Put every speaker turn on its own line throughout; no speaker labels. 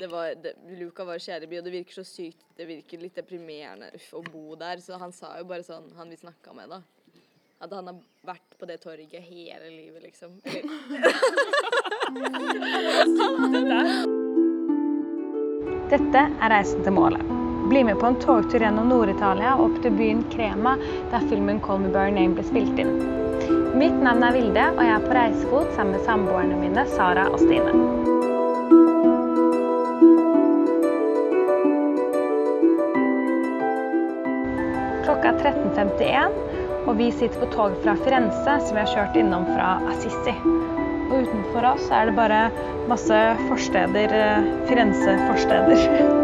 det var, det, Luca var kjæreby, og det virker så sykt Det virker litt deprimerende uff, å bo der. Så han sa jo bare sånn, han vi snakka med, da, at han har vært på det torget hele livet, liksom. Eller,
Dette er Reisen til målet. Bli med på en togtur gjennom Nord-Italia og opp til byen Crema, der filmen 'Call Me By Your Name' ble spilt inn. Mitt navn er Vilde, og jeg er på reisefot sammen med samboerne mine Sara og Stine. Klokka er 13.51, og vi sitter på tog fra Firenze, som vi har kjørt innom fra Assisi. Og utenfor oss er det bare masse forsteder, eh, Firenze-forsteder.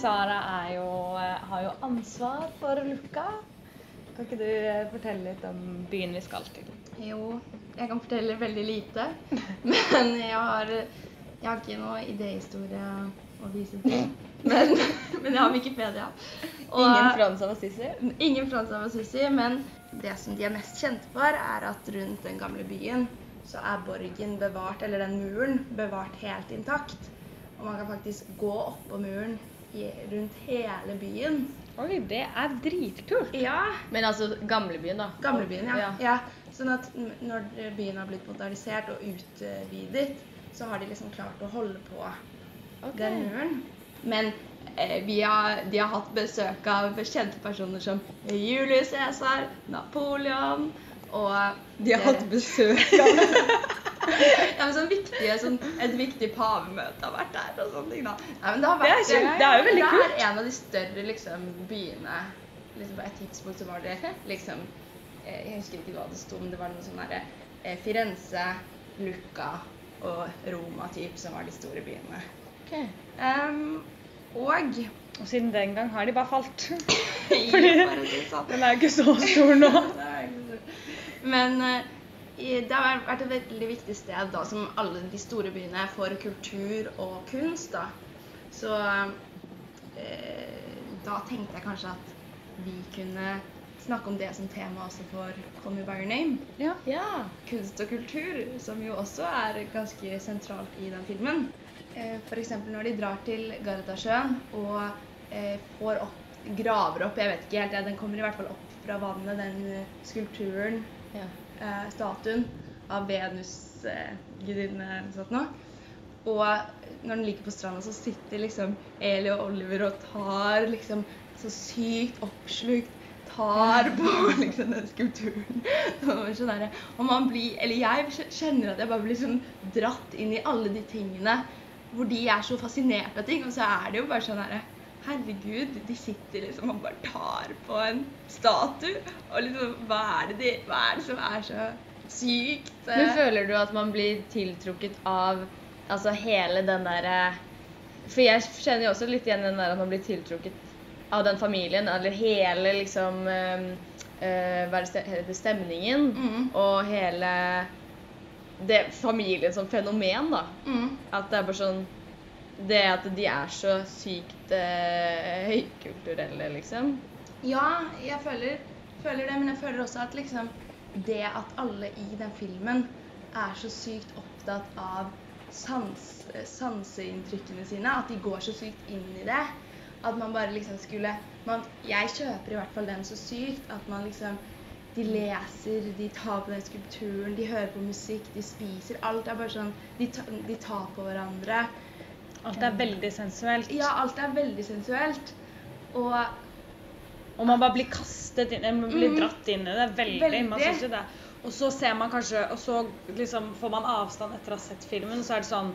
Sara er jo, eh, har jo ansvar for Luca. Kan ikke du eh, fortelle litt om byen vi skal til?
Jo, jeg kan fortelle veldig lite. Men jeg har, jeg har ikke noe idéhistorie å vise til. Men, men jeg har Wikipedia. Og-
ingen Frans av Assisi?
Ingen Frans av Assisi, men det som de er mest kjente for, er at rundt den gamle byen så er borgen bevart, eller den muren, bevart helt intakt. Og man kan faktisk gå oppå muren i, rundt hele byen.
Oi, det er dritkult!
Ja,
Men altså gamlebyen, da.
Gamlebyen, ja. ja. Sånn at n- når byen har blitt modernisert og utvidet, så har de liksom klart å holde på den muren. Men eh, vi har, de har hatt besøk av kjente personer som Julius Cæsar, Napoleon og
De har hatt besøk.
ja, men sånn viktige, sånn, Et viktig pavemøte har vært der og sånne ting. da. Nei, men det, har
Det er
vært,
kjempe- det er jo veldig
Det er en av de større liksom, byene. Liksom, på et tidspunkt så var det liksom eh, Jeg husker ikke hva det sto, men det var noe sånn derre eh, Firenze, Lucca og Roma typ, som var de store byene. Ehm, og
Og siden den gang har de bare falt.
Bare si sånn.
Den er jo ikke så stor nå.
Det er ikke så- Men eh, i- det har vært et veldig viktig sted da, som alle de store byene for kultur og kunst. da. Så eh, da tenkte jeg kanskje at vi kunne snakke om det som tema også for Call Me By Your Name.
Ja.
Kunst og kultur, som jo også er ganske sentralt i den filmen. Eh, F.eks. når de drar til Gardasjøen og eh, får opp, graver opp Jeg vet ikke helt, ja, den kommer i hvert fall opp fra vannet, den eh, skulpturen,
Ja.
eh, statuen av Venus-gudinne eller noe sånt. nå. Og når den ligger på stranda, så sitter liksom Eli og Oliver og tar liksom så sykt oppslukt tar på liksom den skulpturen. Det var sånn derre- Og man blir Eller jeg kj- kjenner at jeg bare blir sånn dratt inn i alle de tingene hvor de er så fascinert av ting, og så er det jo bare sånn herre Herregud, de sitter liksom og bare tar på en statue. Og liksom, hva er det, de, hva er det som er så sykt? eh?
Men føler du at man blir tiltrukket av altså hele den derre For jeg kjenner jo også litt igjen den der at man blir tiltrukket av den familien, eller hele liksom eh, eh, Hva er det ste- heter stemningen?
Mm.
Og hele det familien som fenomen, da.
Mm.
At det er bare sånn Det at de er så sykt eh, høykulturelle, liksom.
Ja, jeg føler, føler det, men jeg føler også at liksom det at alle i den filmen er så sykt opptatt av sans, sanseinntrykkene sine, at de går så sykt inn i det. At man bare liksom skulle man, Jeg kjøper i hvert fall den så sykt at man liksom De leser, de tar på den skulpturen, de hører på musikk, de spiser. Alt er bare sånn De, ta, de tar på hverandre.
Alt er veldig sensuelt.
Ja, alt er veldig sensuelt. Og
Og man bare blir kastet inn, man blir
Mm.
dratt inn i det veldig. Man
Veldig.
synes jo det. Og så ser man kanskje, og så liksom får man avstand etter å ha sett filmen, og så er det sånn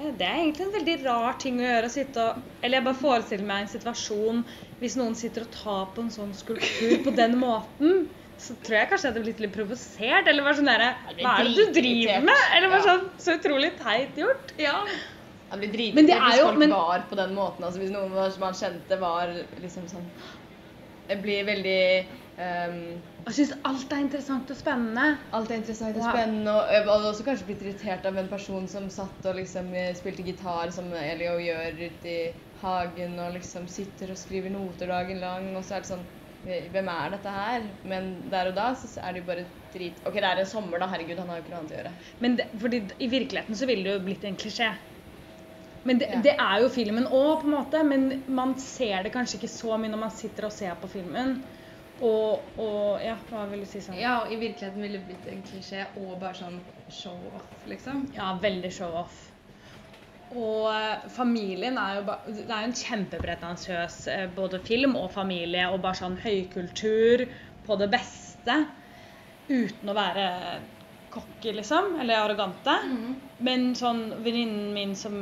«Eh, Det er egentlig en veldig rar ting å gjøre. å sitte og, Eller jeg bare forestiller meg en situasjon hvis noen sitter og tar på en sånn skulptur på den måten. Så tror jeg kanskje jeg hadde blitt litt provosert. Eller bare sånn derre
blir
Hva er det du
dritirritert.
driver med? Eller bare
Ja.
sånn Så utrolig teit gjort. Ja.
Jeg blir dritig
Men det er
hvis
jo-
folk
men-
var på den måten. Altså hvis noen var, som man kjente var liksom sånn Jeg blir veldig ehm,
Jeg syns alt er interessant og spennende.
Alt er interessant og
Ja.
spennende. Og jeg hadde også kanskje blitt irritert av en person som satt og liksom eh, spilte gitar, som Elio gjør ute i hagen, og liksom sitter og skriver noter dagen lang, og så er det sånn Hvem er dette her? Men der og da så er det jo bare drit OK, det er en sommer, da. Herregud, han har jo ikke noe annet å gjøre.
Men det, fordi d- i virkeligheten så ville det jo blitt en klisjé. Men det,
Ja.
det er jo filmen òg, på en måte. Men man ser det kanskje ikke så mye når man sitter og ser på filmen. Og, og Ja, hva vil du si sånn?
Ja, og i virkeligheten ville det blitt en klisjé og bare sånn show-off, liksom.
Ja, veldig show-off. Og eh, familien er jo ba Det er jo en kjempepretensiøs eh, både film og familie og bare sånn høykultur på det beste. Uten å være cocky, liksom. Eller arrogante. Men sånn venninnen min som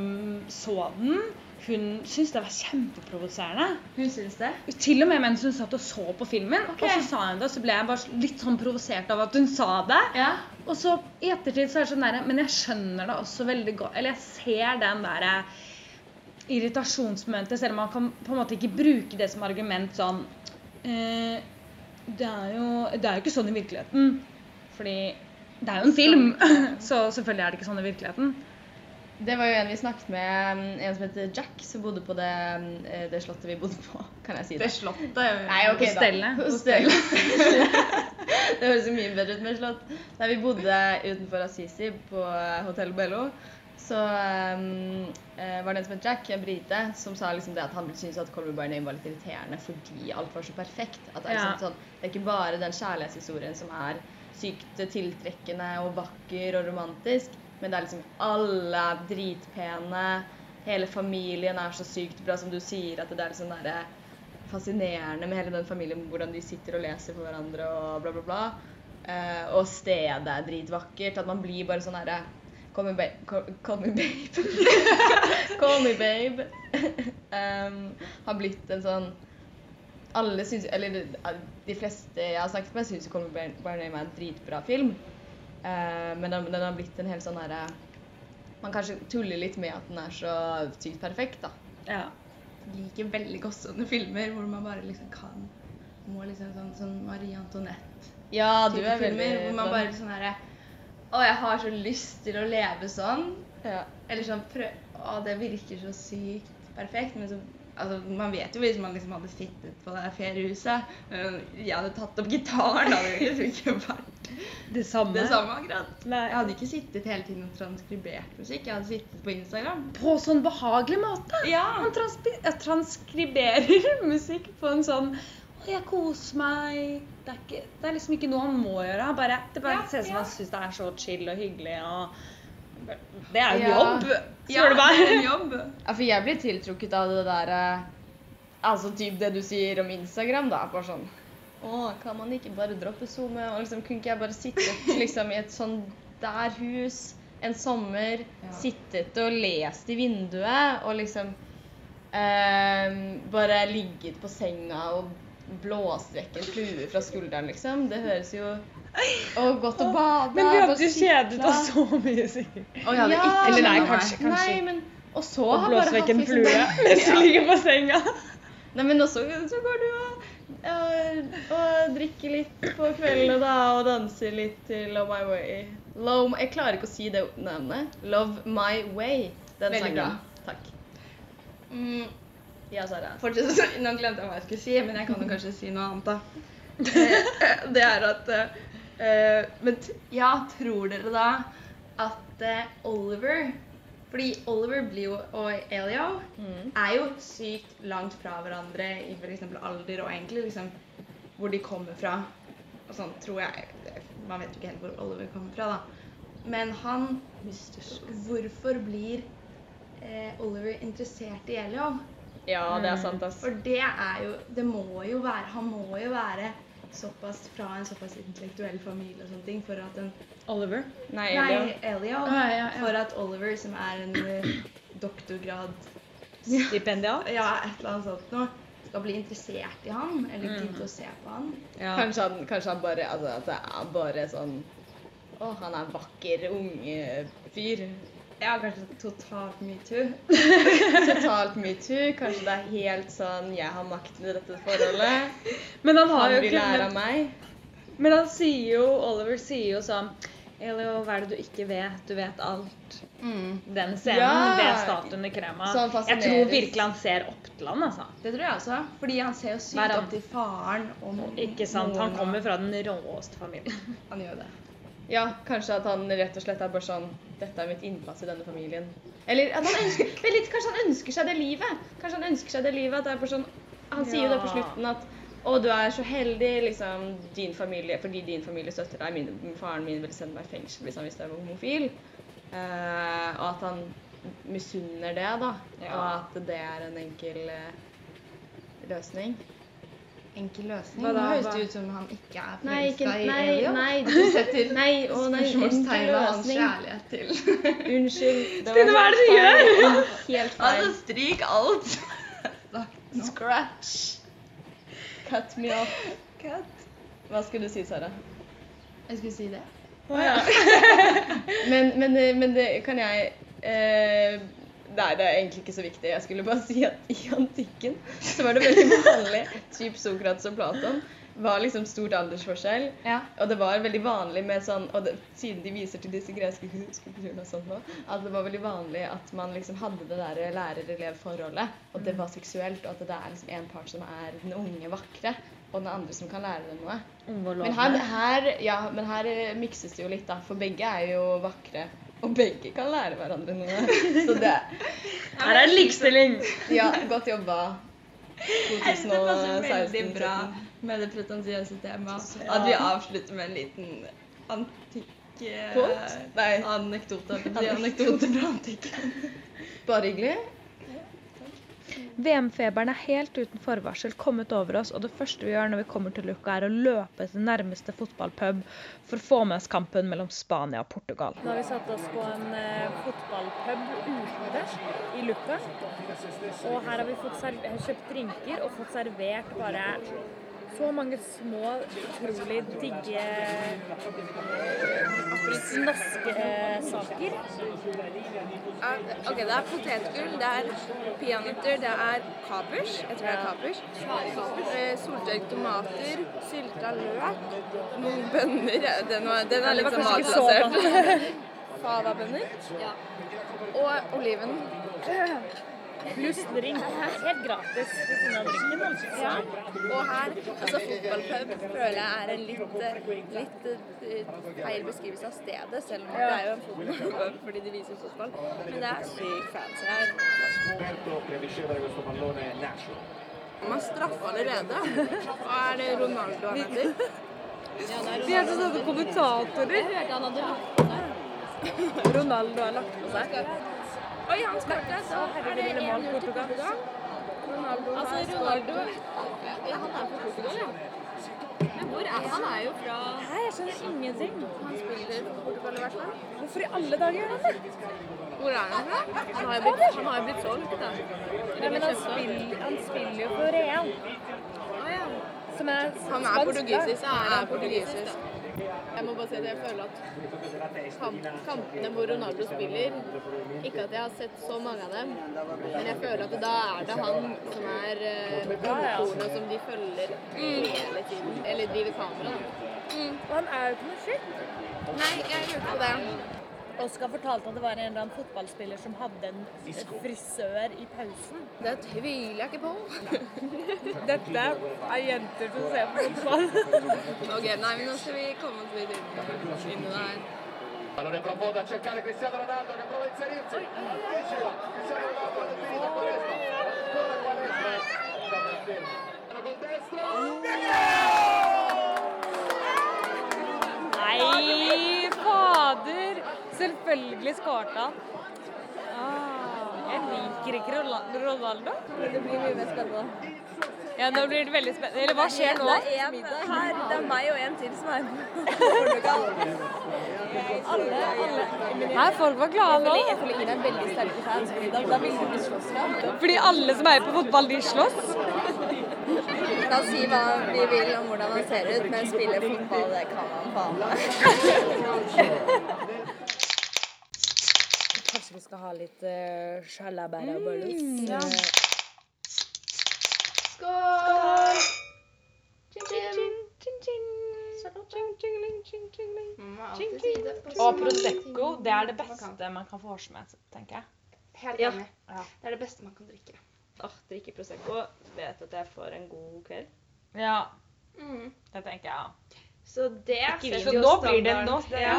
så den, hun syntes det var kjempeprovoserende.
Hun syns det.
Til og med mens hun satt og så på filmen,
Ok.
og så sa hun det, så ble jeg bare litt sånn provosert av at hun sa det.
Ja.
Og så i ettertid så er det sånn der, Men jeg skjønner det også veldig godt Eller jeg ser den der eh, irritasjonsmomentet, selv om man kan på en måte ikke bruke det som argument sånn eh, det, er jo, det er jo ikke sånn i virkeligheten. Fordi det er jo en film, så selvfølgelig er det ikke sånn i virkeligheten.
Det var jo en vi snakket med, um, en som heter Jack, som bodde på det, um, eh, det slottet vi bodde på. Kan jeg si
Det
det?
er slottet. jo-
Nei, ok da.
Hostellet.
Hostellet. det høres jo mye bedre ut med slott. Nei, vi bodde utenfor Assisi på eh, Hotel Bello. Så um, eh, var det en som het Jack, en brite, som sa liksom det at han syntes at Colby By Name var litt irriterende fordi alt var så perfekt. At det, er liksom
Ja.
sånn, det er ikke bare den kjærlighetshistorien som er sykt tiltrekkende og vakker og romantisk, men det er liksom alle er dritpene, hele familien er så sykt bra, som du sier, at det er liksom derre fascinerende med hele den familien, hvordan de sitter og leser for hverandre og bla, bla, bla. Eh, og stedet er dritvakkert. At man blir bare sånn herre Call me, ba call, call me babe. call me babe. Em, har blitt en sånn Alle syns Eller eh, de fleste jeg har snakket med, syns jo Call me by By name er en dritbra film. Eh, men den, den har blitt en helt sånn herre Man kanskje tuller litt med at den er så sykt perfekt, da.
Ja.
liker veldig godt sånne filmer hvor man bare liksom kan Må liksom sånn, sånn Marie Antoinette-type
Ja, du er veldig
filmer. Hvor man bare sånn herre Å, jeg har så lyst til å leve sånn.
ja.
Eller sånn prø Å, det virker så sykt perfekt. Men så Altså, man vet jo hvis man liksom hadde sittet på det feriehuset øh, Jeg hadde tatt opp gitaren, hadde jo liksom ikke vært
Det samme.
det samme akkurat.
Nei.
Jeg hadde ikke sittet hele tiden og transkribert musikk. Jeg hadde sittet på Instagram.
På sånn behagelig måte.
Ja.
Han transpi- eh, transkriberer musikk på en sånn «Å, jeg koser meg. Det er, ikke, det er liksom ikke noe han må gjøre. Han bare, det bare
Ja,
ser ut som
ja.
han syns det er så chill og hyggelig. Og det er jo
Ja.
jobb, spør du meg.
det er en jobb.
Ja, for jeg blir tiltrukket av det der eh, Altså typ det du sier om Instagram, da. Bare sånn Å, kan man ikke bare droppe SoMe? Og liksom, kunne ikke jeg bare sittet liksom, i et sånn der hus en sommer,
Ja.
sittet og lest i vinduet og liksom eh, Bare ligget på senga og blåst vekk en flue fra skulderen, liksom. Det høres jo Og gått og bada.
Men vi
og
hadde jo kjedet
syklet.
oss så mye, sikkert.
Og jeg hadde
Ja.
ikke
Eller nei,
skjønt meg.
kanskje, kanskje.
Nei, men Og så
Og
har bare
blåse
hatt
vekk en
liksom
flue mens du ligger på senga.
Nei, men også så går du og, og, og drikker litt på kveldene da, og danser litt til Love My Way. Love, jeg klarer ikke å si det navnet. Love My Way. Den
Veldig
sangen.
bra.
Takk.
Mm,
Ja, Sara.
fortsett å si- Nå glemte jeg hva jeg skulle si, men jeg kan jo kanskje si noe annet, da. Eh, Det er at eh, eh, Men t- ja, tror dere da at eh, Oliver Fordi Oliver blir jo, og Elio
Mm.
er jo sykt langt fra hverandre i f.eks. alder og egentlig liksom hvor de kommer fra. Og sånn tror jeg Man vet jo ikke helt hvor Oliver kommer fra, da. Men han Hvorfor blir eh, Oliver interessert i Elio?
Ja, det er sant, ass.
For det er jo Det må jo være Han må jo være såpass fra en såpass intellektuell familie og sånne ting for at en
Oliver. Ah,
Nei,
Nei,
Elia.
Elio.
Ja, ja, ja.
For at Oliver, som er en eh, doktorgrad
Stipendiat.
Ja, et eller annet sånt noe, skal bli interessert i han,
Mm.
eller gidde å se på han.
Ja.
Kanskje han, kanskje han bare Altså, at det er bare sånn Å, han er en vakker unge fyr.
Ja, kanskje totalt metoo.
Totalt metoo. Kanskje det er helt sånn Jeg har makten i dette forholdet.
Men han har
Han
jo
vil
ikke
lære av meg.
Men han sier jo, Oliver sier jo sånn Elio, hva er det du ikke vet? Du vet alt.
Mm.
Den scenen
Ja!
ble statuen i krema.
Sånn
jeg
fascinerende.
tror virkelig han ser opp til han, altså.
Det tror jeg også. Fordi han ser jo
Hver
sykt
an-
opp til faren. Og
Ikke sant? Han
moren,
kommer fra den råeste familien.
og Han gjør det.
Ja, kanskje at han rett og slett er bare sånn Dette er mitt innpass i denne familien. Eller at han ønsker men litt, Kanskje han ønsker seg det livet. Kanskje han ønsker seg det livet at det er bare sånn Han sier jo det på
Ja.
slutten at å, du er så heldig, liksom, din familie, fordi din familie støtter deg. Min, faren min ville sende meg i fengsel hvis han visste jeg var homofil. Eh, og at han misunner det, da.
Ja.
Og at det er en enkel eh, løsning.
Enkel løsning.
Hva
Nå
da,
høres
hva?
det ut som han ikke er
Nei, ikke
forelska i
Nei,
Elio.
nei.
Du setter
Nei, å nei, enkel
spørsmålstegn ved hans
løsning.
kjærlighet til
Unnskyld. det
Stine,
var
hva er det du
helt feil. Helt feil.
Altså, stryk alt! Scratch.
Cut me off. Hva skulle du si, Sara?
Jeg skulle si det.
Men, men, eh, men det kan jeg eh, Nei, det er egentlig ikke så viktig. Jeg skulle bare si at i antikken så var det veldig vanlig Typ Sokrates og Platon var liksom stort aldersforskjell.
Ja.
Og det var veldig vanlig med sånn Og det, siden de viser til disse greske skulpturene og sånn nå, at det var veldig vanlig at man liksom hadde det der lærer-elev-forholdet. Og det var seksuelt, og at det er liksom en part som er den unge vakre, og den andre som kan lære dem noe. Men her, her, ja, men her eh, mikses det jo litt, da. For begge er jo vakre. Og begge kan lære hverandre noe. Så det
Her er likestilling!
Ja, godt jobba. 2016.
Det passer veldig bra med det pretensiøse temaet. At vi avslutter med en liten antikk eh,
Quote? Nei.
Anekdote. holdt jeg på å si. Anekdote fra antikken.
Bare hyggelig.
VM-feberen er helt uten forvarsel kommet over oss, og det første vi gjør når vi kommer til Luca, er å løpe til nærmeste fotballpub for å få med oss kampen mellom Spania og Portugal.
Nå har vi satt oss på en eh, fotballpub utendørs i Lucca. Og her har vi fått serv- eh, kjøpt drinker og fått servert bare så mange små, utrolig digge eh, snoskesaker.
Ok, det er potetgull, det er peanøtter, det er kapers. Jeg tror det er kapers. Eh, Soltørket tomater, sylta løk, noen bønner. ja, Den, var, den er
det
litt
var
sånn
kanskje ikke så
matbasert. Fava-bønner. Og oliven.
Pluss drink. Helt gratis ved siden av drinken. altså.
Ja. Og her, altså fotballpub, føler jeg er en litt, eh, litt eh, feil beskrivelse av stedet, selv om det er jo en fotballpub fordi de viser fotball. Men det er sykt fancy her.
scoperto che ricevere questo pallone Nacho.
Man straffer allerede. Hva er det Ronaldo han heter?
Vi er sånne kommentatorer. Jeg hørte han hadde lagt på seg. Ronaldo har lagt på seg.
Oi, han skapte! Så er det 1-0 til Portugal. Ronaldo altså, Ronaldo
Ja, han er fra Portugal, ja. Men hvor er han? er jo fra
Nei, jeg skjønner ingenting.
Han spiller for Portugal i hvert fall.
Hvorfor i alle dager gjør han det?
Hvor er han fra? Han har jo blitt, han har jo blitt solgt, da.
Nei, men han spiller, han spiller jo for Real,
Å, ja.
som er
Han er
spansk, da.
portugisisk. Han er portugisisk. Jeg må bare si at jeg føler at kamp, kampene hvor Ronaldo spiller Ikke at jeg har sett så mange av dem, men jeg føler at da er det han som er eh, ikonet som de følger hele tiden. Eller driver kamera, da.
Og han er jo ikke noe skitt.
Mm. Nei, jeg gjør ikke det.
Oskar fortalte at det var en eller annen fotballspiller som hadde en frisør i pausen.
Det tviler jeg ikke på.
Dette er jenter som ser på fotball.
Ok, nei, men nå skal vi komme oss litt inn, inn i det her.
Pallone profondo a cercare Cristiano Ronaldo che prova a inserirsi. Difficile. Cristiano Ronaldo ha definito Quaresma. Ancora Quaresma. Siamo in fermo. Col destro.
Nei, fader! Selvfølgelig skåret han. Ah, Jeg liker ikke Rola-
Det
Ronaldo.
blir mye mer spennende.
Ja, nå blir det veldig spennende. Eller hva skjer nå?
Det er en her, det er meg og en til som er med.
Nei, folk var glade nå.
Jeg føler Ida er veldig sterke fans, fordi da, da vil du bli slåss fra.
Fordi alle som er på fotball, de slåss.
Da si hva vi vil om hvordan han ser ut, men spille fotball, det kan han faen meg.
Kanskje vi skal ha litt uh, sjalabærabøllus?
Skål!
Chin, chin. Chin, chin.
Man må alltid si det.
Og Prosecco, det er det beste man kan få hårsmed, tenker jeg.
Helt
Ja.
enig.
Ja.
Det er det beste man kan drikke.
Åh, drikke Prosecco. Vet at jeg får en god kveld.
Ja,
Mm.
det tenker jeg. ja.
Så det
Ikke vi,
setter
så
jo
nå blir det
standarden.
nå.
Ja.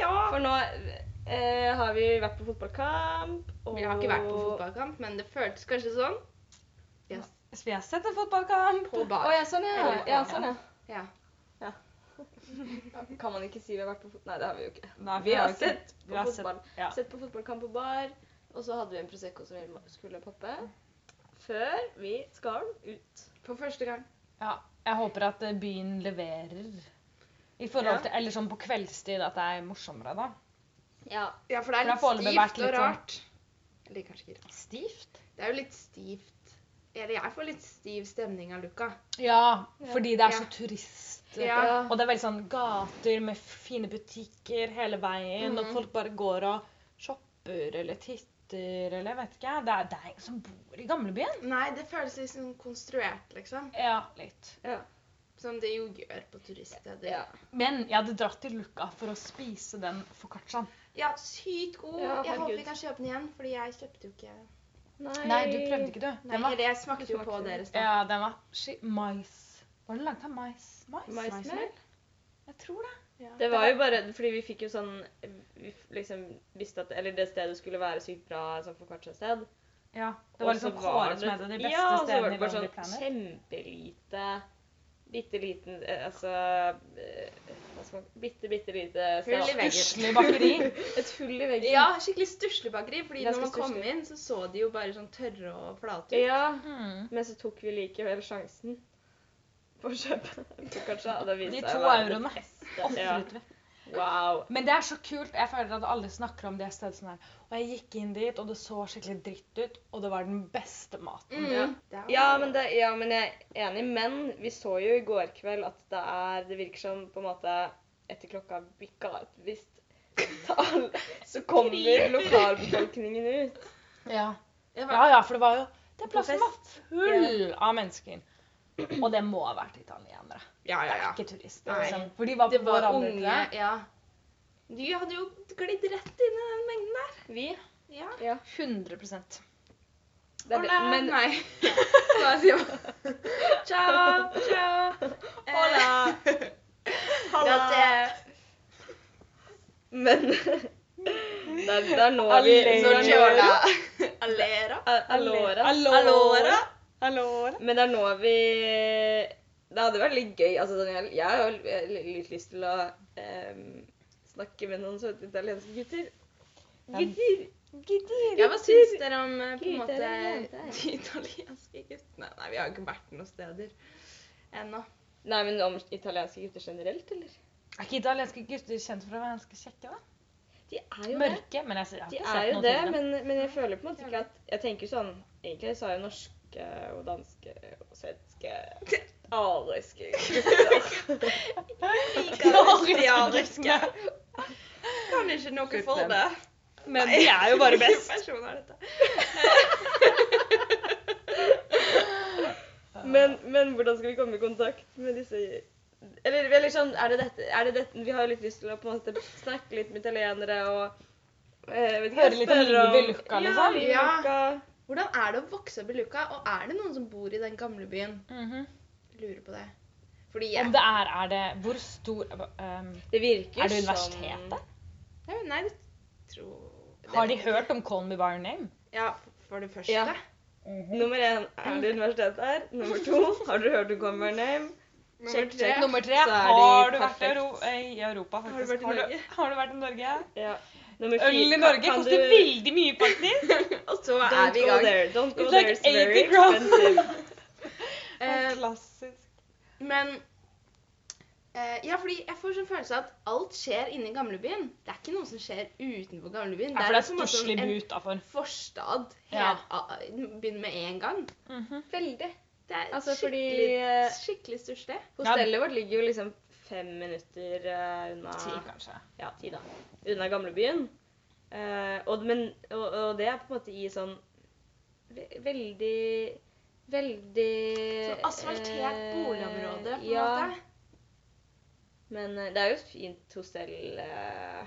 Ja.
For nå eh, har vi vært på fotballkamp. Og...
Vi har ikke vært på fotballkamp, men det føltes kanskje sånn.
Så vi har sett en fotballkamp.
På
Å
bar.
ja, sånn ja. ja, sånn, ja.
Ja.
Kan man ikke si vi har vært på fotball... Nei, det har vi jo ikke.
Nei,
Vi har
jo ikke-
sett
vi
på
har
fotball.
sett- ja.
Sett på fotballkamp på bar, og så hadde vi en Prosecco som vi skulle poppe. Før vi skal ut.
For første gang.
Ja, jeg håper at eh, byen leverer. I
Ja.
forhold til, Eller sånn på kveldstid, at det er morsommere da.
Ja.
Ja, for det
For det
er
har foreløpig
litt
vært
stivt og
litt sånn-
rart. Eller kanskje ikke rart.
Stivt?
Det er jo litt stivt. Eller jeg får litt stiv stemning av Luca.
Ja, fordi det er så
Ja.
turist.
Ja.
Og det er veldig sånn gater med fine butikker hele veien, og
Mhm.
folk bare går og shopper eller titter eller jeg vet ikke. Det er deg som bor i gamlebyen.
Nei, det føles litt sånn konstruert, liksom.
Ja, litt.
Som det jo gjør på turiststeder.
Ja.
Men jeg hadde dratt til Luca for å spise den foccacciaen.
Ja, sykt god.
Ja,
jeg håper vi
herregud.
kan kjøpe den igjen, fordi jeg kjøpte jo ikke
Nei.
Nei, du prøvde ikke, du.
Nei,
Den var,
eller jeg smakte jo på deres da.
ja, den var ski- mais. Var den laget av mais? Mais?
Maismel?
Jeg tror det.
Det var jo bare fordi vi fikk jo sånn Vi f- liksom visste at Eller det stedet skulle være sykt bra sånn for hvert sitt sted.
Ja, det var
Og så
liksom kåret som
det-
et av de beste
ja, og så var
stedene
det
i
bare
Lonely
sånn
Planet.
Kjempelite Bitte liten eh, Altså eh, hva skal man, Bitte, bitte lite
Hull i
sted.
veggen.
Uslig bakeri.
Et hull i veggen.
Ja, skikkelig stusslig bakeri. Fordi
Ganske
når man kom
stusslig.
inn, så så de jo bare sånn tørre og flate ut.
Ja,
Mm.
Men så tok vi likevel sjansen på å kjøpe en focaccia. og det viste
De
seg å
to
være det
euroene.
beste. Ja.
Ofret vi.
Wow.
Men det er så kult. Jeg føler at alle snakker om det stedet sånn her. Og jeg gikk inn dit, og det så skikkelig dritt ut, og det var den beste maten.
Mm. Det er-
Ja men, det, ja, men jeg er enig. Men vi så jo i går kveld at det er Det virker som på en måte etter klokka bikka et visst tall, så kommer lokalbefolkningen ut.
Ja.
Jeg
ja,
var,
ja, for det var jo Den plassen var
fest.
full av mennesker. Og det må ha vært italienere,
ja, ja, ja.
ikke turister.
Nei.
Liksom. For de var på
Det var
vår alder, tror
unge
jeg.
Ja. Du hadde jo glidd rett inn i den mengden der.
Vi?
Ja.
100
Det er det.
Hola.
Men
Nei. Hva sier man? Ciao. Ciao. Eh,
Hola!
Grazie.
Men det er, det er nå vi
Allora.
Buongiorno. Allera.
Allora.
Allora.
Men det er nå vi Det hadde vært litt gøy. Altså, sånn, jeg, jeg har jo litt lyst til å em, snakke med noen søte italienske gutter. Gutter! Gutter!
Ja, hva syns dere om eh, på en
Gutter
måte
eller jenter?
de italienske guttene? Nei, vi har jo ikke vært noen steder ennå.
Nei, men om italienske gutter generelt, eller?
Er ikke italienske gutter kjent for å være ganske kjekke? da?
De er jo det.
Mørke, men jeg ser- jeg har
De er
ikke sett
jo
noe
det,
til dem.
men, men jeg føler på en måte ikke at Jeg tenker sånn Egentlig så er jo norske og danske og svenske Ariske
Ariske. Kan ikke noe for det.
Men de er jo bare best.
Person er dette.
Men, men hvordan skal vi komme i kontakt med disse Eller, eller sånn, er det dette, er det dette Vi har jo litt lyst til å på en måte snakke litt med italienere og eh, vet ikke,
Høre litt om
spørre
livet i Lucca,
Ja,
liksom.
livet i
Ja.
Lucca.
Hvordan er det å vokse opp i Luka, og er det noen som bor i den gamle byen?
Mhm.
Lurer på det. Fordi
Om
jeg
det er, er det Hvor stor um,
Det virker
Er det
som-
universitetet?
Nei, Nei, det tror det
Har de
vet jeg
hørt om Call Me By Your Name?
ikke. Ja, for det første.
Ja. Nummer én, er det universitetet her? Nummer to, har dere hørt om Comer Name? Check,
tre.
check.
Nummer tre
Så er de
Har du vært i,
perfekt.
Euro eh, i Europa,
Har du
faktisk?
vært i Norge?
Har du, har du vært i Norge?
Ja. Nummer
Øl i
fire,
Norge
kan- kan
koster
du-
veldig mye, faktisk.
Og så er
Don't
vi i
go
gang.
there. Don't go
It's
there.
like
It's very
80 grand.
expensive.
Eh,
Klassisk.
Men eh, Ja, fordi jeg får sånn følelse av at alt skjer inni gamlebyen. Det er ikke noe som skjer utenfor gamlebyen.
Ja, for det er
på en måte
stusslig
en
bu utafor.
forstad
Ja.
helt a- begynner med én gang. Mhm.
Veldig.
Det er
Altså, fordi
skikkelig,
eh,
skikkelig stusslig.
hostellet vårt ligger jo liksom fem minutter eh, unna
Ti, kanskje.
ja, ti da, unna gamlebyen. Eh, og, men, og, og det er på en måte i sånn ve veldig Veldig
Sånn asfaltert
eh,
boligområde, på en
ja,
måte.
Men eh, det er jo et fint hostell eh,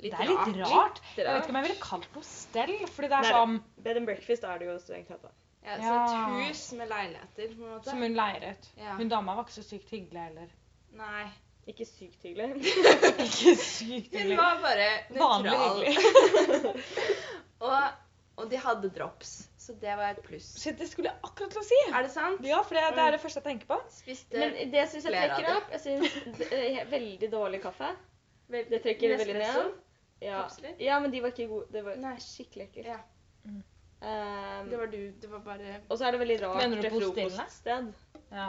Det er litt rart. Jeg vet ikke om jeg ville kalt det hostell, fordi det er
Nei.
sånn
Bed and breakfast er det jo strengt tatt. da.
Ja, så
Ja.
et hus med leiligheter, på en måte.
som hun leier ut.
Ja.
Hun dama var ikke så sykt hyggelig heller.
Nei.
Ikke sykt hyggelig.
Ikke sykt
Hun
hyggelig.
var bare
Vanlig
nøytral.
hyggelig.
Og, og de hadde drops, så det var et pluss.
Shit, det skulle jeg akkurat til å si.
Er det sant?
Ja, for det, det er det første jeg tenker på.
Spiste
Men det syns jeg
flere av
trekker
de.
opp. Jeg synes det er veldig dårlig kaffe. Vel- Det trekker det veldig
Nespresso?
ned. Ja.
Kapsler?
ja, men de var ikke gode. Det var
Nei.
skikkelig ekkelt.
Ja.
Ehm,
Det var du. Det var bare
og så er det veldig rart
Mener du
det
på hostellene?
frokoststed
Ja.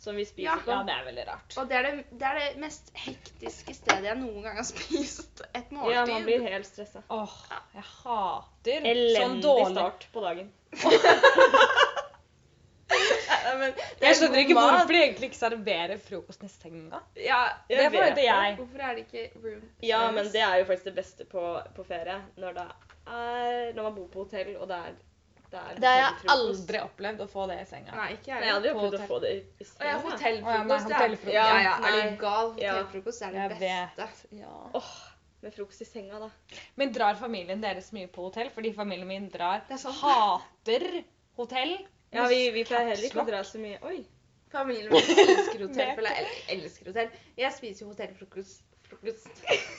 som vi spiser
Ja.
på.
ja, det er veldig rart.
Og det er det, det er det mest hektiske stedet jeg noen gang har spist et måltid.
Ja, man blir helt stressa.
Åh, jeg hater sånn
Elendig
dårlig
start på dagen.
Nei, men det er
Jeg skjønner
god
ikke
mat.
hvorfor de egentlig ikke serverer frokosten i senga.
Ja,
Det
Jeg vet
forventer jeg.
Hvorfor er det ikke room
Ja, men
service?
det er jo faktisk det beste på, på ferie. Når, det er, når man bor på hotell, og det er Det er,
Det har jeg
hotellfrokost.
aldri opplevd å få det i senga.
Nei, ikke
Nei,
jeg.
Jeg hadde jo
På
prøvd å
hotell.
få det i, i
Å ja,
senga.
Å ja, nei,
hotellfrokost.
hotellfrokost.
Ja, ja, eh,
Ja,
er
nei.
du gal?
Ja.
Hotellfrokost er det
Jeg vet.
beste.
Med frokost i senga, da.
Men drar familien deres mye på hotell? Fordi familien min drar
Det er sant.
hater hotell.
Ja, vi, vi pleier heller ikke å dra så mye Oi.
Familien min elsker hotell. for jeg el- elsker hotell. Jeg spiser jo hotellfrokost frokost,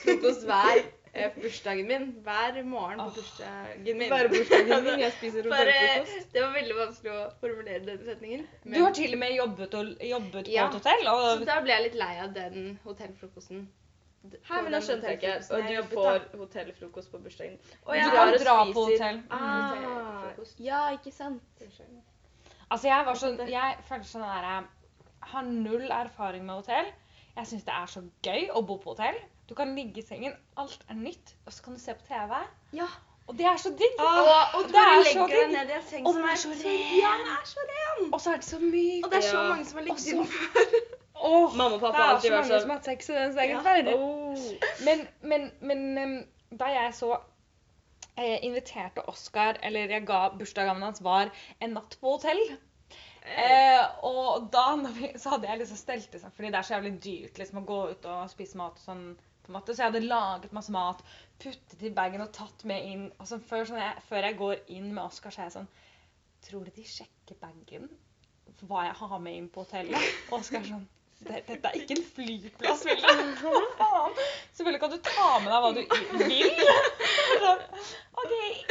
frokost hver eh, bursdagen min. Hver morgen på
Åh.
bursdagen min. Altså,
Bare bursdagen min. Jeg spiser
Bare,
hotellfrokost.
det var veldig vanskelig å formulere den setningen.
Du har til og med jobbet, og, jobbet
Ja.
på et hotell.
så
Og
da ble jeg litt lei av den hotellfrokosten. D-
Hæ,
på den
men da skjønte jeg ikke.
hotellfrokosten
Og
jeg
du
jobbet, da.
får hotellfrokost på bursdagen.
Du
Og jeg
kan
drar og
dra på
spiser-
hotell.
Ah,
Hotellfrokost. Ja, ikke sant.
altså, jeg var sånn Jeg følte sånn der jeg Har null erfaring med hotell. Jeg syns det er så gøy å bo på hotell. Du kan ligge i sengen, alt er nytt, og så kan du se på TV.
Ja.
Og det er så digg.
Og, og du
det
bare
er så
legger deg
digg.
ned i en seng
Og
som
den
er
er så
Ja, den er så ren!
Og så er det så mykt.
Og det er så
Ja.
mange som har ligget
Også-
i den før.
Åh,
Mamma og pappa
det
har
er
alltid
så
vært
mange
sånn-
som har hatt sex i den sengen før.
oh.
Men, men, men em, da jeg så eh, inviterte Oskar, eller jeg ga bursdagsgaven hans, var en natt på hotell. Eh, og da når vi, så hadde jeg liksom stelt det sånn, fordi det er så jævlig dyrt liksom, å gå ut og spise mat og sånn. på en måte, Så jeg hadde laget masse mat, puttet i bagen og tatt med inn. og sånn, før, sånn jeg, før jeg går inn med Oskar, så er jeg sånn Tror du de sjekker bagen? Hva jeg har med inn på hotellet? Og Oskar sånn "Det- Dette er ikke en flyplass, Vilde. Hva faen? Selvfølgelig kan du ta med deg hva du i- vil. Sånn, OK.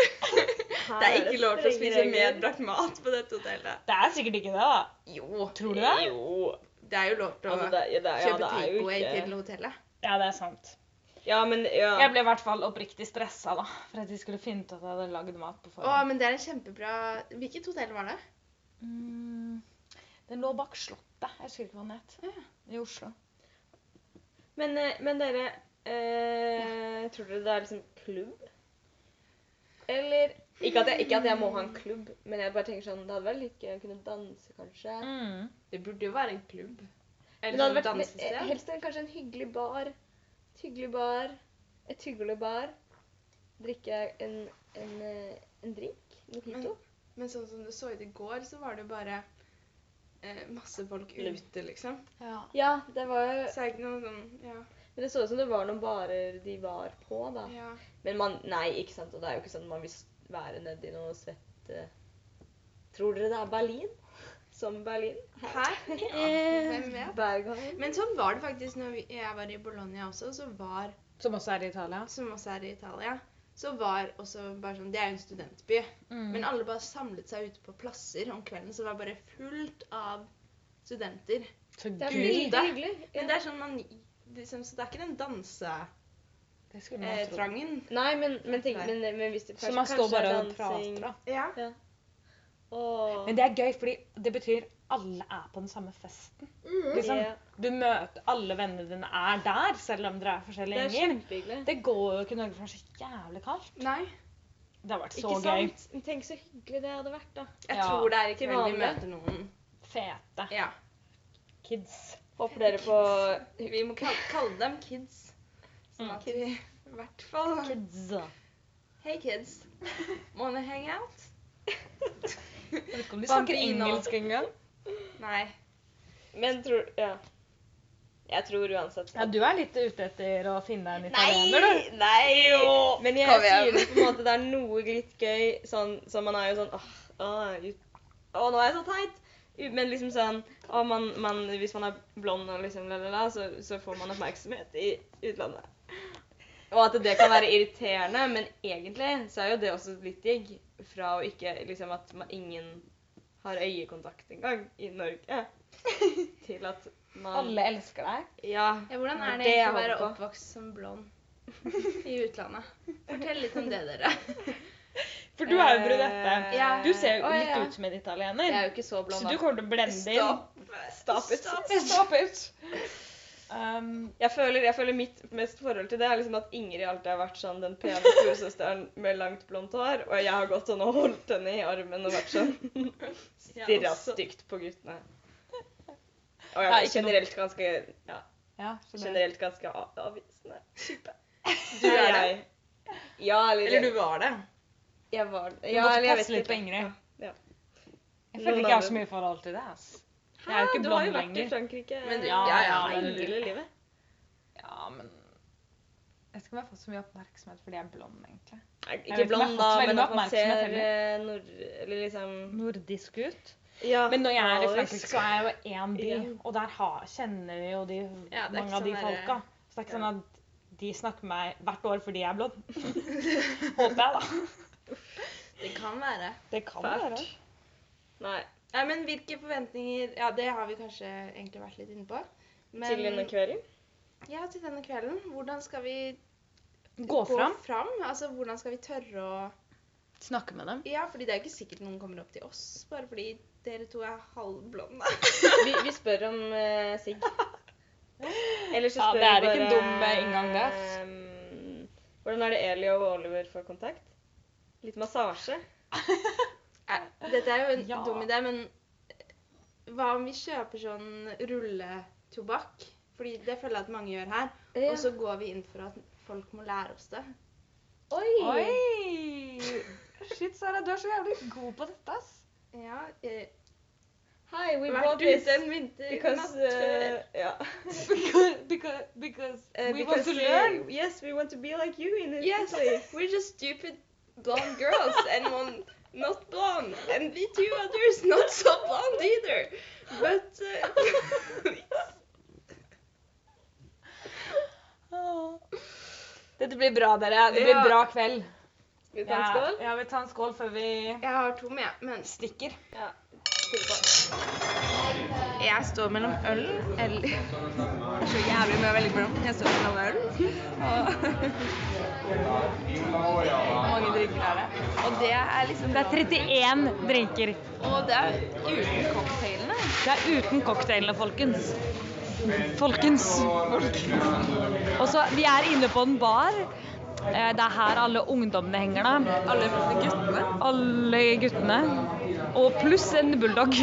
Her
Det er ikke lov til å
strenge
spise
regler.
medbrakt mat på dette hotellet.
Det er sikkert ikke det, da.
Jo,
Tror du det?
Jo.
det er jo lov til å
Altså, det, er- ja, det, er- ja,
kjøpe
det er jo
takeaway til
ikke
hotellet.
Ja, det er sant.
Ja, men ja.
Jeg ble i hvert fall oppriktig stressa da, for at de skulle finne ut at jeg hadde lagd mat på
Å,
forhånd.
men det er en kjempebra Hvilket hotell var det?
Mm, den lå bak Slottet. Jeg husker ikke hva den het. I Oslo.
Men, eh, men dere eh, Tror dere det er liksom klubb? Eller ikke at, jeg, ikke at jeg må ha en klubb, men jeg bare tenker sånn Det hadde vært litt gøy å kunne danse, kanskje.
Mm.
Det burde jo være en klubb.
Men
Eller
det hadde
sånn
vært eh,
dansested.
helst en, kanskje en hyggelig bar. Et hyggelig bar. Et hyggelig bar. Drikke en, en, eh, en drink. Mojito.
Men sånn som du så ut i går, så var det jo bare eh, masse folk ute, liksom.
Ja.
Ja, det var jo
Så det er ikke noe sånn Ja.
Men det så ut som det var noen barer de var på, da.
ja.
Men man Nei, ikke sant. Og det er jo ikke sånn at man vil s- være nedi noe svett eh. Tror dere det er Berlin? Som Berlin?
Her? Hvem vet?
Berghain?
Men sånn var det faktisk når vi, jeg var i Bologna også, så var,
Som også er i Italia.
som også er i Italia, så var også bare sånn Det er jo en studentby.
Mm.
Men alle bare samlet seg ute på plasser om kvelden, så det var bare fullt av studenter.
Så
Det er
Gud.
gøy.
veldig hyggelig.
Men det er sånn man liksom, Så det er ikke den dansetrangen.
Det skulle man
Eh,
tro.
trangen.
Nei, men, men, tenk, men, men hvis det
Så man står bare og prater, da.
ja.
Og,
Men det er gøy, fordi det betyr alle er på den samme festen. Liksom,
Ja.
du møter Alle vennene dine er der, selv om dere er
det
forskjellige
er
gjenger.
kjempehyggelig.
Det går jo ikke i Norge, for det er så jævlig kaldt.
Nei.
Det har vært så
Ikke
gøy.
sant? Tenk så hyggelig det hadde vært, da.
Jeg
Ja,
tror det er i
til
kveld vi
vanlig.
møter noen.
Fete
Ja.
kids.
Håper dere på
Vi må kal- kalle dem kids. Sånn at vi i hvert fall
Kids. Jeg
Hey kids. Wanna hang out?
vet ikke om de snakker
Bambino.
engelsk engang.
Nei.
Men tror Ja. Jeg tror uansett
Ja, du er litt ute etter å finne deg en italiener,
Nei! Nei jo. Men jeg
Kom igjen.
sier det på en måte det er noe litt gøy, sånn som man er jo sånn åh, åh, ut- åh, nå er jeg så teit! U- Men liksom sånn åh, man, man, Hvis man er blond og liksom la, la, la, så, så får man oppmerksomhet i utlandet. Og at det kan være irriterende, men egentlig så er jo det også litt digg. Fra å ikke liksom at man, ingen har øyekontakt engang i Norge, til at
du.
man
Alle elsker deg.
Ja.
Ja, hvordan er det,
Det
egentlig å
jeg
være
håper på.
oppvokst som blond i utlandet? Fortell litt om det, dere.
For du er jo brunette.
Eh, ja.
Du ser jo
Å,
litt
ja.
ut som en
Jeg er
italiener.
jo ikke så blond,
Så du
da.
kommer til å blende inn.
Stop it.
Stop it. Um,
Jeg føler, jeg føler mitt mest forhold til det er liksom at Ingrid alltid har vært sånn den pene storesøsteren med langt blondt hår, og jeg har gått sånn og holdt henne i armen og vært sånn stirra stygt på guttene. Og jeg
Ja,
er
ikke noe-
generelt ganske, ja,
ja, for det.
generelt ganske av- avvisende type. Du er jeg. Ja, eller,
Eller du var det.
Jeg var
Du
ja,
måtte
eller jeg
passe
vet
litt på
ikke.
Ingrid.
Ja.
Jeg føler ikke jeg har så mye forhold til det. ass. Jeg er jo ikke
Du har jo
blond
vært i
lenger.
Frankrike eh,
Men du-
Ja,
ja,
ja,
ja,
men-
hele livet.
Ja, men Jeg vet ikke om jeg har fått så mye oppmerksomhet fordi jeg er blond, egentlig.
Nei,
vet ikke
Ikke
om jeg har
blond,
fått
da,
så veldig
men at man
oppmerksomhet
ser
heller.
eh, nord... Eller liksom
Nordisk gutt.
ja,
Men når jeg er i
malisk.
Frankrike, så er jeg jo én by,
Ja.
og der har, kjenner vi jo de,
Ja, det er ikke
mange av de
sånn der-
folka. Så det er ikke sånn at de snakker med meg hvert år fordi jeg er blond. Håper jeg, da.
Det kan være.
Det kan
Fælt.
være.
Nei.
Nei, men hvilke forventninger Ja, det har vi kanskje egentlig vært litt inne på. Men,
Til denne kvelden.
Ja, til denne kvelden. Hvordan skal vi
Gå fram,
Altså, hvordan skal vi tørre å
snakke med dem.
Ja, fordi det er jo ikke sikkert noen kommer opp til oss, bare fordi dere to er halvblonde.
Vi, vi spør om eh, sigg. Eller så
Ja,
spør
det er
vi bare
ikke en dum, eh, inngang, det, ass.
ehm, hvordan er det Eli og Oliver får kontakt? Litt massasje.
Nei, Dette er jo en
Ja.
dum idé, men hva om vi kjøper sånn rulletobakk? Fordi det føler jeg at mange gjør her. Og så går vi inn for at folk må lære oss det.
Oi!
Oi! Shit, Sara, du er så jævlig god på dette, ass.
Ja, eh,
Hi, we
Vært
bought this
ute en vinter
because
natt før.
eh, ja.
Because, because, because
Eh,
we want
because
to learn.
yes, we want to be like you in this
Yes.
place.
We're just stupid blonde girls and one not blonde. And the two others not so blonde either. But uh,
Åh. Dette blir bra, dere. Det blir
Ja.
bra kveld.
Skal vi ta en skål?
Ja, ja, vi tar en skål før vi
Jeg har to med, men
stikker.
Jeg står mellom øl eller Det er så jævlig mye veldig mellom. Jeg står mellom øl og
Hvor mange drikker er det?
Og det er liksom
Det er 31 drinker.
Og det er uten cocktailene.
Det er uten cocktailene, folkens. Folkens. Og så, vi er inne på en bar. Eh, Det er her alle ungdommene henger, da.
Alle guttene.
Alle guttene. Og pluss en bulldog.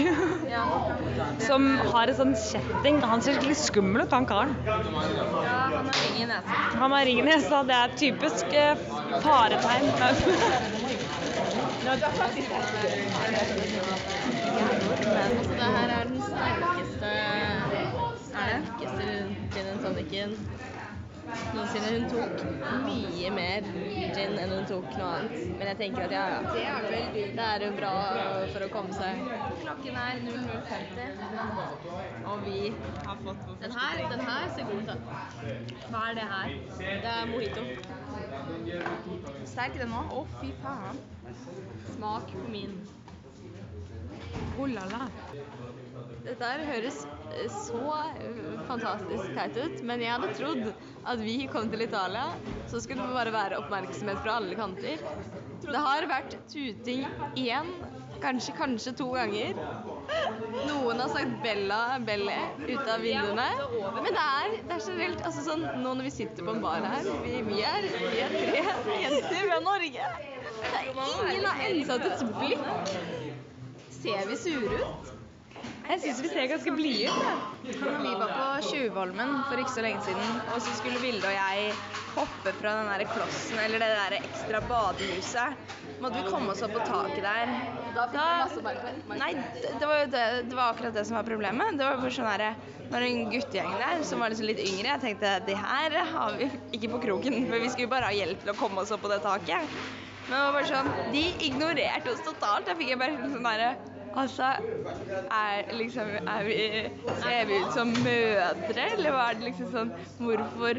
Som har en sånn kjetting. Han ser skikkelig skummel ut, han karen.
Ja, han har ring i nesa.
Han har ring i nesa. Det er typisk eh, faretegn.
Altså, det her er den sterkeste sterkeste gin and tonicen noensinne. Hun tok mye mer gin enn hun tok noe annet. Men jeg tenker at ja, ja. Det er veldig Det er jo bra for å komme seg.
Klokken er 00.50.
Og vi har fått vår Den her, den her ser god ut, da. Hva er det her? Det er mojito.
Sterk den nå. Å, fy faen.
Smak på min.
Oh la la.
Dette her høres eh, så eh, fantastisk teit ut, men jeg hadde trodd at vi kom til Italia, så skulle det bare være oppmerksomhet fra alle kanter. Det har vært tuting én, kanskje, kanskje to ganger. Noen har sagt 'Bella Belle' ut av vinduene. Men det er, det er generelt altså sånn Nå når vi sitter på en bar her Vi, vi, er, vi er tre jenter fra Norge. Det er ingen har ensatt et blikk. Ser vi sure ut?
Jeg syns vi ser ganske blide ut. jeg.
Vi var på Tjuvholmen for ikke så lenge siden, og så skulle Vilde og jeg hoppe fra den der klossen, eller det der ekstra badehuset. Måtte vi komme oss opp på taket der.
Da fikk vi masse oppmerksomhet.
Nei, det, det var jo det, det var akkurat det som var problemet. Det var bare sånn her, Når en guttegjeng der som var liksom litt yngre, jeg tenkte de her har vi ikke på kroken. For vi skulle bare ha hjelp til å komme oss opp på det taket. Men det var bare sånn, de ignorerte oss totalt. Da fikk jeg bare sånn herre Altså, er, liksom, er vi, ser vi ut som mødre, eller hva er det liksom sånn Hvorfor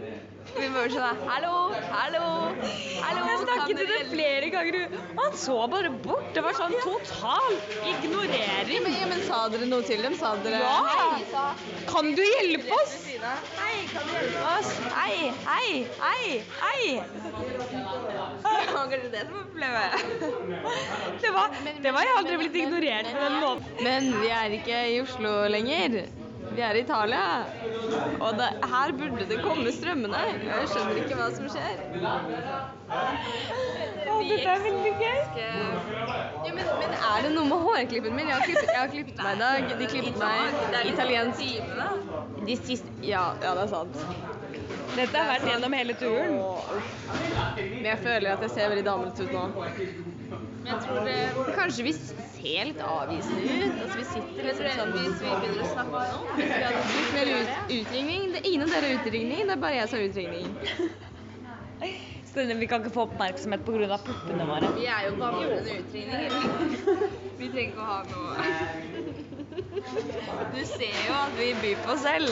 Vi var sånn her, Hallo, hallo, hallo.
Jeg
kan
snakket til
dere
det
hjelpe
flere ganger, og han så bare bort. Det var sånn total ignorering.
Men, ja, men sa dere noe til dem? Sa dere
Ja!
Hei,
Kan du hjelpe oss?
hei, kan du hjelpe oss? Hei, hei, hei, hei! Det var kanskje det som var problemet.
Det var, det var jeg aldri blitt ignorert på den måten.
Men vi er ikke i Oslo lenger. Vi er i Italia. Og det, her burde det komme strømmende. Jeg skjønner ikke hva som skjer.
Å, dette er veldig gøy.
Ja, men, men er det noe med hårklippen min? Jeg har klippet, jeg har klippet meg i dag. De klippet
sånn
meg italiensk. De siste Ja, ja, det er sant.
Dette har vært gjennom hele turen.
Men jeg føler at jeg ser veldig damete ut nå. Kanskje vi ser litt avvisende ut? Altså, vi sitter liksom sånn Hvis vi begynner å snakke om noe Litt mer ut, utringning? Det er ingen av dere har utringning, det er bare jeg som har utringning.
Stine, Vi kan ikke få oppmerksomhet pga. puppene våre.
Vi er jo vandrende utringninger. Vi trenger ikke å ha noe Du ser jo at vi byr på oss selv.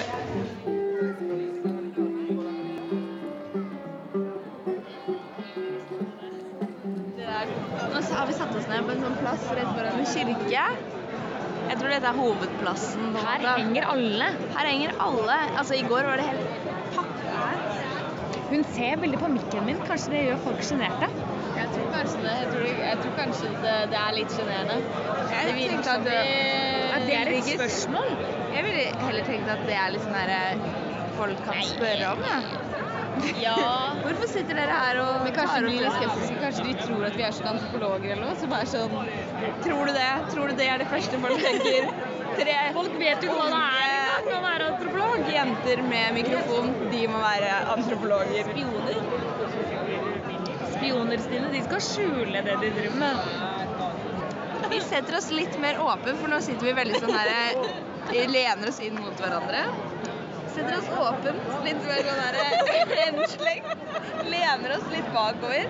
Nå så har vi satt oss ned på en sånn plass rett foran en kirke. Jeg tror dette er hovedplassen. på en
Her
måte.
henger alle.
Her henger alle. Altså, i går var det helt pakka her.
Hun ser veldig på mikken min. Kanskje det gjør folk sjenerte?
Jeg tror kanskje det, jeg tror, jeg tror kanskje det, det er litt sjenerende. Det virker
tenkte
som
at
vi
Ja, det er et spørsmål.
Jeg ville heller tenkt at det er litt sånn her folk kan spørre om, ja.
Ja.
Hvorfor sitter dere her og
Men kanskje
tar
de
opp
blir litt
det?
skeptiske. Kanskje de tror at vi er sånn antropologer eller noe. Så bare sånn
Tror du det? Tror du det er det første folk tenker? Tre
Folk vet jo hva det er engang å være antropolog.
jenter med mikrofon, de må være antropologer.
Spioner, Stine, de skal skjule det de driver med.
Vi setter oss litt mer åpen, for nå sitter vi veldig sånn her Vi lener oss inn mot hverandre. Setter oss åpent, litt mer sånn her henslengt. Lener oss litt bakover.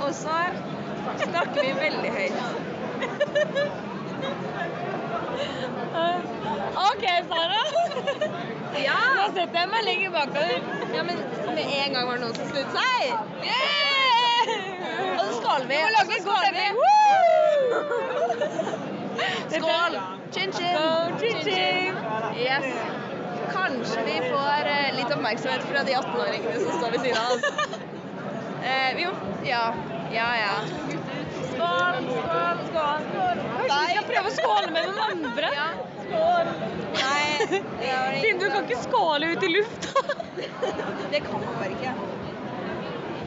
Og så snakker vi veldig høyt.
OK, Sara. Ja. Nå setter jeg meg lenger bakover.
Ja, men med en gang var det noen som snudde seg. Og så skåler vi. Og så skåler vi. Skål! Chin-chin. Yes. Kanskje vi får eh, litt oppmerksomhet fra de 18-åringene som står ved siden av oss. Eh, vi må Ja. Ja, ja. Skål, skål, skål.
Kanskje vi skal prøve å skåle med noen andre?
Ja. Nei, det var det
Siden du kan ikke skåle ut i lufta.
Det kan man bare ikke.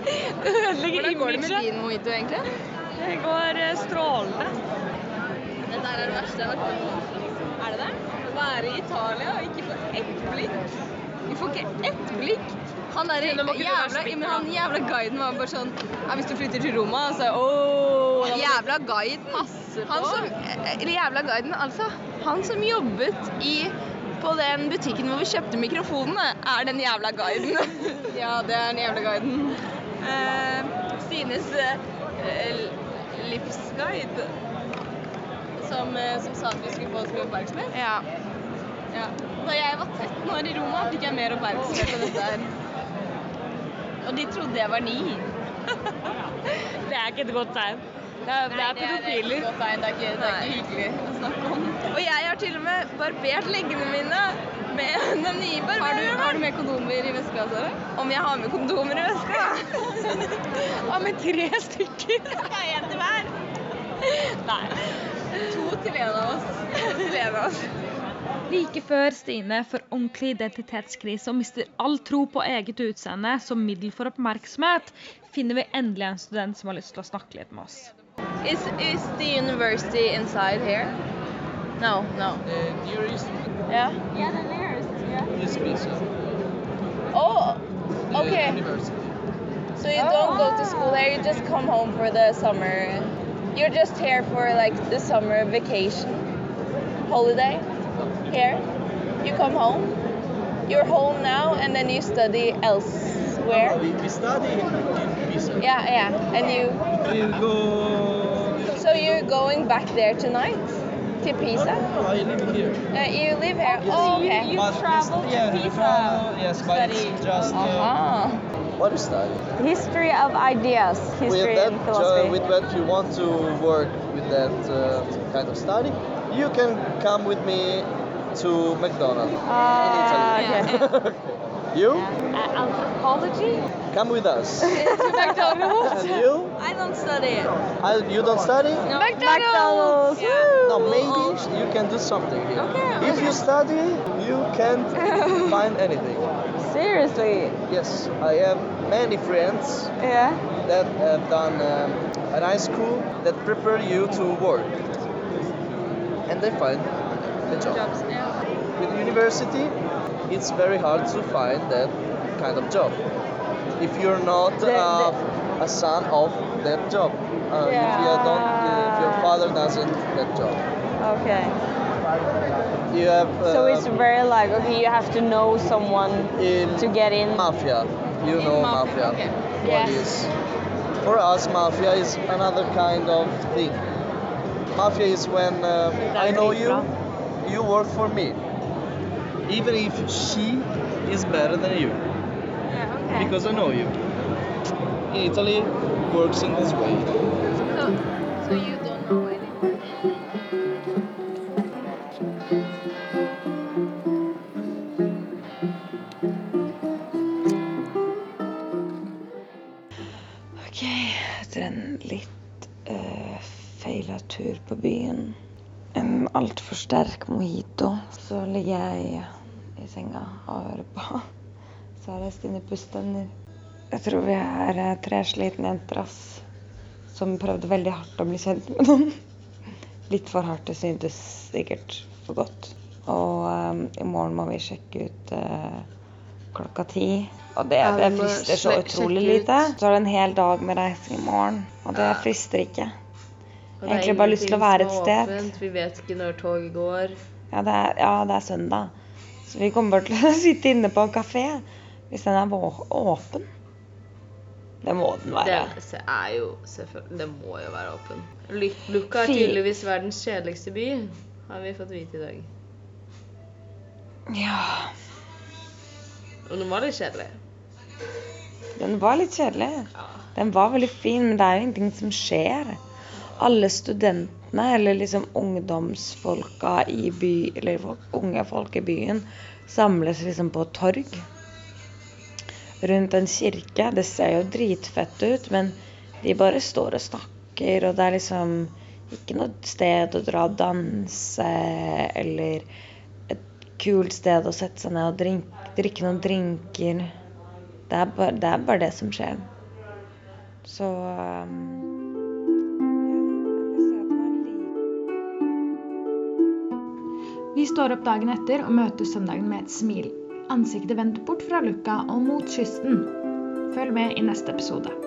Det ødelegger
Hvordan går det med
imaget.
din mojito, egentlig?
Det går eh, strålende.
Dette er det verste jeg har vært med på. Er det det? Å være i Italia og ikke få ett blikk. Vi får ikke ett blikk. Han der
må ikke du være
jævla,
så bitter,
men han jævla guiden var bare sånn ja, Hvis du flytter til Roma, så åh, Han Jævla guiden. Han som, eh, eller jævla guiden, altså. Han som jobbet i på den butikken hvor vi kjøpte mikrofonene, er den jævla guiden. ja, det er den jævla guiden. Eh, Stines eh, livsguide
som, eh, som sa at vi skulle få oss mye oppmerksomhet.
Ja.
Ja. Da jeg var 13 år i Roma, fikk jeg mer oppmerksomhet enn dette her. Og de trodde jeg var ni.
Det er ikke et godt tegn. Det er, det er pedofiler.
Det er, det er, ikke, det er ikke hyggelig å snakke om.
Og jeg har til og med barbert leggene mine med de nye
Har du,
barbererne.
har du med kondomer i veska, Sara?
Om jeg har med kondomer i veska?
Ja, med tre stykker.
En til hver.
Nei.
To til en av oss. To til en av oss.
Like før Stine får ordentlig identitetskrise og mister all tro på eget utseende som middel for oppmerksomhet, finner vi endelig en student som har lyst til å snakke litt med oss.
Is, is the university inside here? No, no. Yeah? Oh, okay. So you don't go to school here, you just come home for the summer. You're just here for like the summer vacation, holiday. Here, you come home. You're home now, and then you study elsewhere.
We, we study in Pisa.
Yeah, yeah. And you.
We'll go.
So you're going back there tonight to
No,
Pisa.
no, I live here.
Uh, you live here. Oh, okay.
but we
travel to
yeah, we
Pisa
travel, yes,
to
but it's
study.
just. Uh,
Ah.
what is study?
History of ideas, history
with that,
and
uh,
philosophy.
with that, you want to work with that uh, kind of study, you can come with me to McDonald's
Ah,
in
okay.
Italy. you
Uh, anthropology?
come with us.
Into McDonald's?
and you?
I don't study it.
I, you don't study? No,
McDonald's!
maybe you can do something here.
Okay,
if you study, you can't find anything.
Seriously?
Yes, I have many friends
Yeah.
that have done um, an high school that prepare you to work and they find the job. With university, it's very hard to find that kind of job if you're not uh, a son of that job. Uh, if, you don't, if your father doesn't that job,
Okay.
you have. Uh,
So it's very like okay, you have to know someone
in
to get in.
mafia. You know mafia. What is- For us, mafia is another kind of thing. Mafia is when uh, I know you, you work for me. Even if she is better than you,
Yeah, okay.
because I know you. In Italy, works in this way.
So you don't know anything.
Ok, etter en litt uh, feila tur på byen, en altfor sterk mojito, så ligger jeg i senga og hører på Sara sine pusteevner. Jeg tror vi er eh, tre slitne jenter ass, som prøvde veldig hardt å bli kjent med noen. Litt for hardt, det syntes sikkert for godt. Og eh, i morgen må vi sjekke ut eh, klokka ti. Og det,
Ja, vi
det
må
frister så
sle- sjekke
utrolig
ut.
lite. Så er det en hel dag med reising i morgen, og det frister ikke.
Og det er
Egentlig bare lyst til å
ingenting
være et
som er
sted.
åpent, Vi vet ikke når toget går.
Ja, det er, ja, det er søndag. Så vi kommer bare til å sitte inne på en kafé hvis den er vå- åpen. Det må den
Det
være.
se- er jo selvfølgelig Det må jo være åpen. Lu- Lucca er
Fi-
tydeligvis verdens kjedeligste by, har vi fått vite i dag.
Ja,
Og den var litt kjedelig.
den var litt kjedelig. Den var veldig fin, men det er jo ingenting som skjer. Alle studentene, eller liksom ungdomsfolka i by, eller folk, unge folk i byen, samles liksom på et torg rundt en kirke. Det ser jo dritfett ut, men de bare står og snakker, og det er liksom ikke noe sted å dra og danse, eller et kult sted å sette seg ned og drink, drikke noen drinker. Det er, bare, det er bare det som skjer. Så um,
Vi står opp dagen etter og møter søndagen med et smil. Ansiktet vendt bort fra lukka og mot kysten. Følg med i neste episode.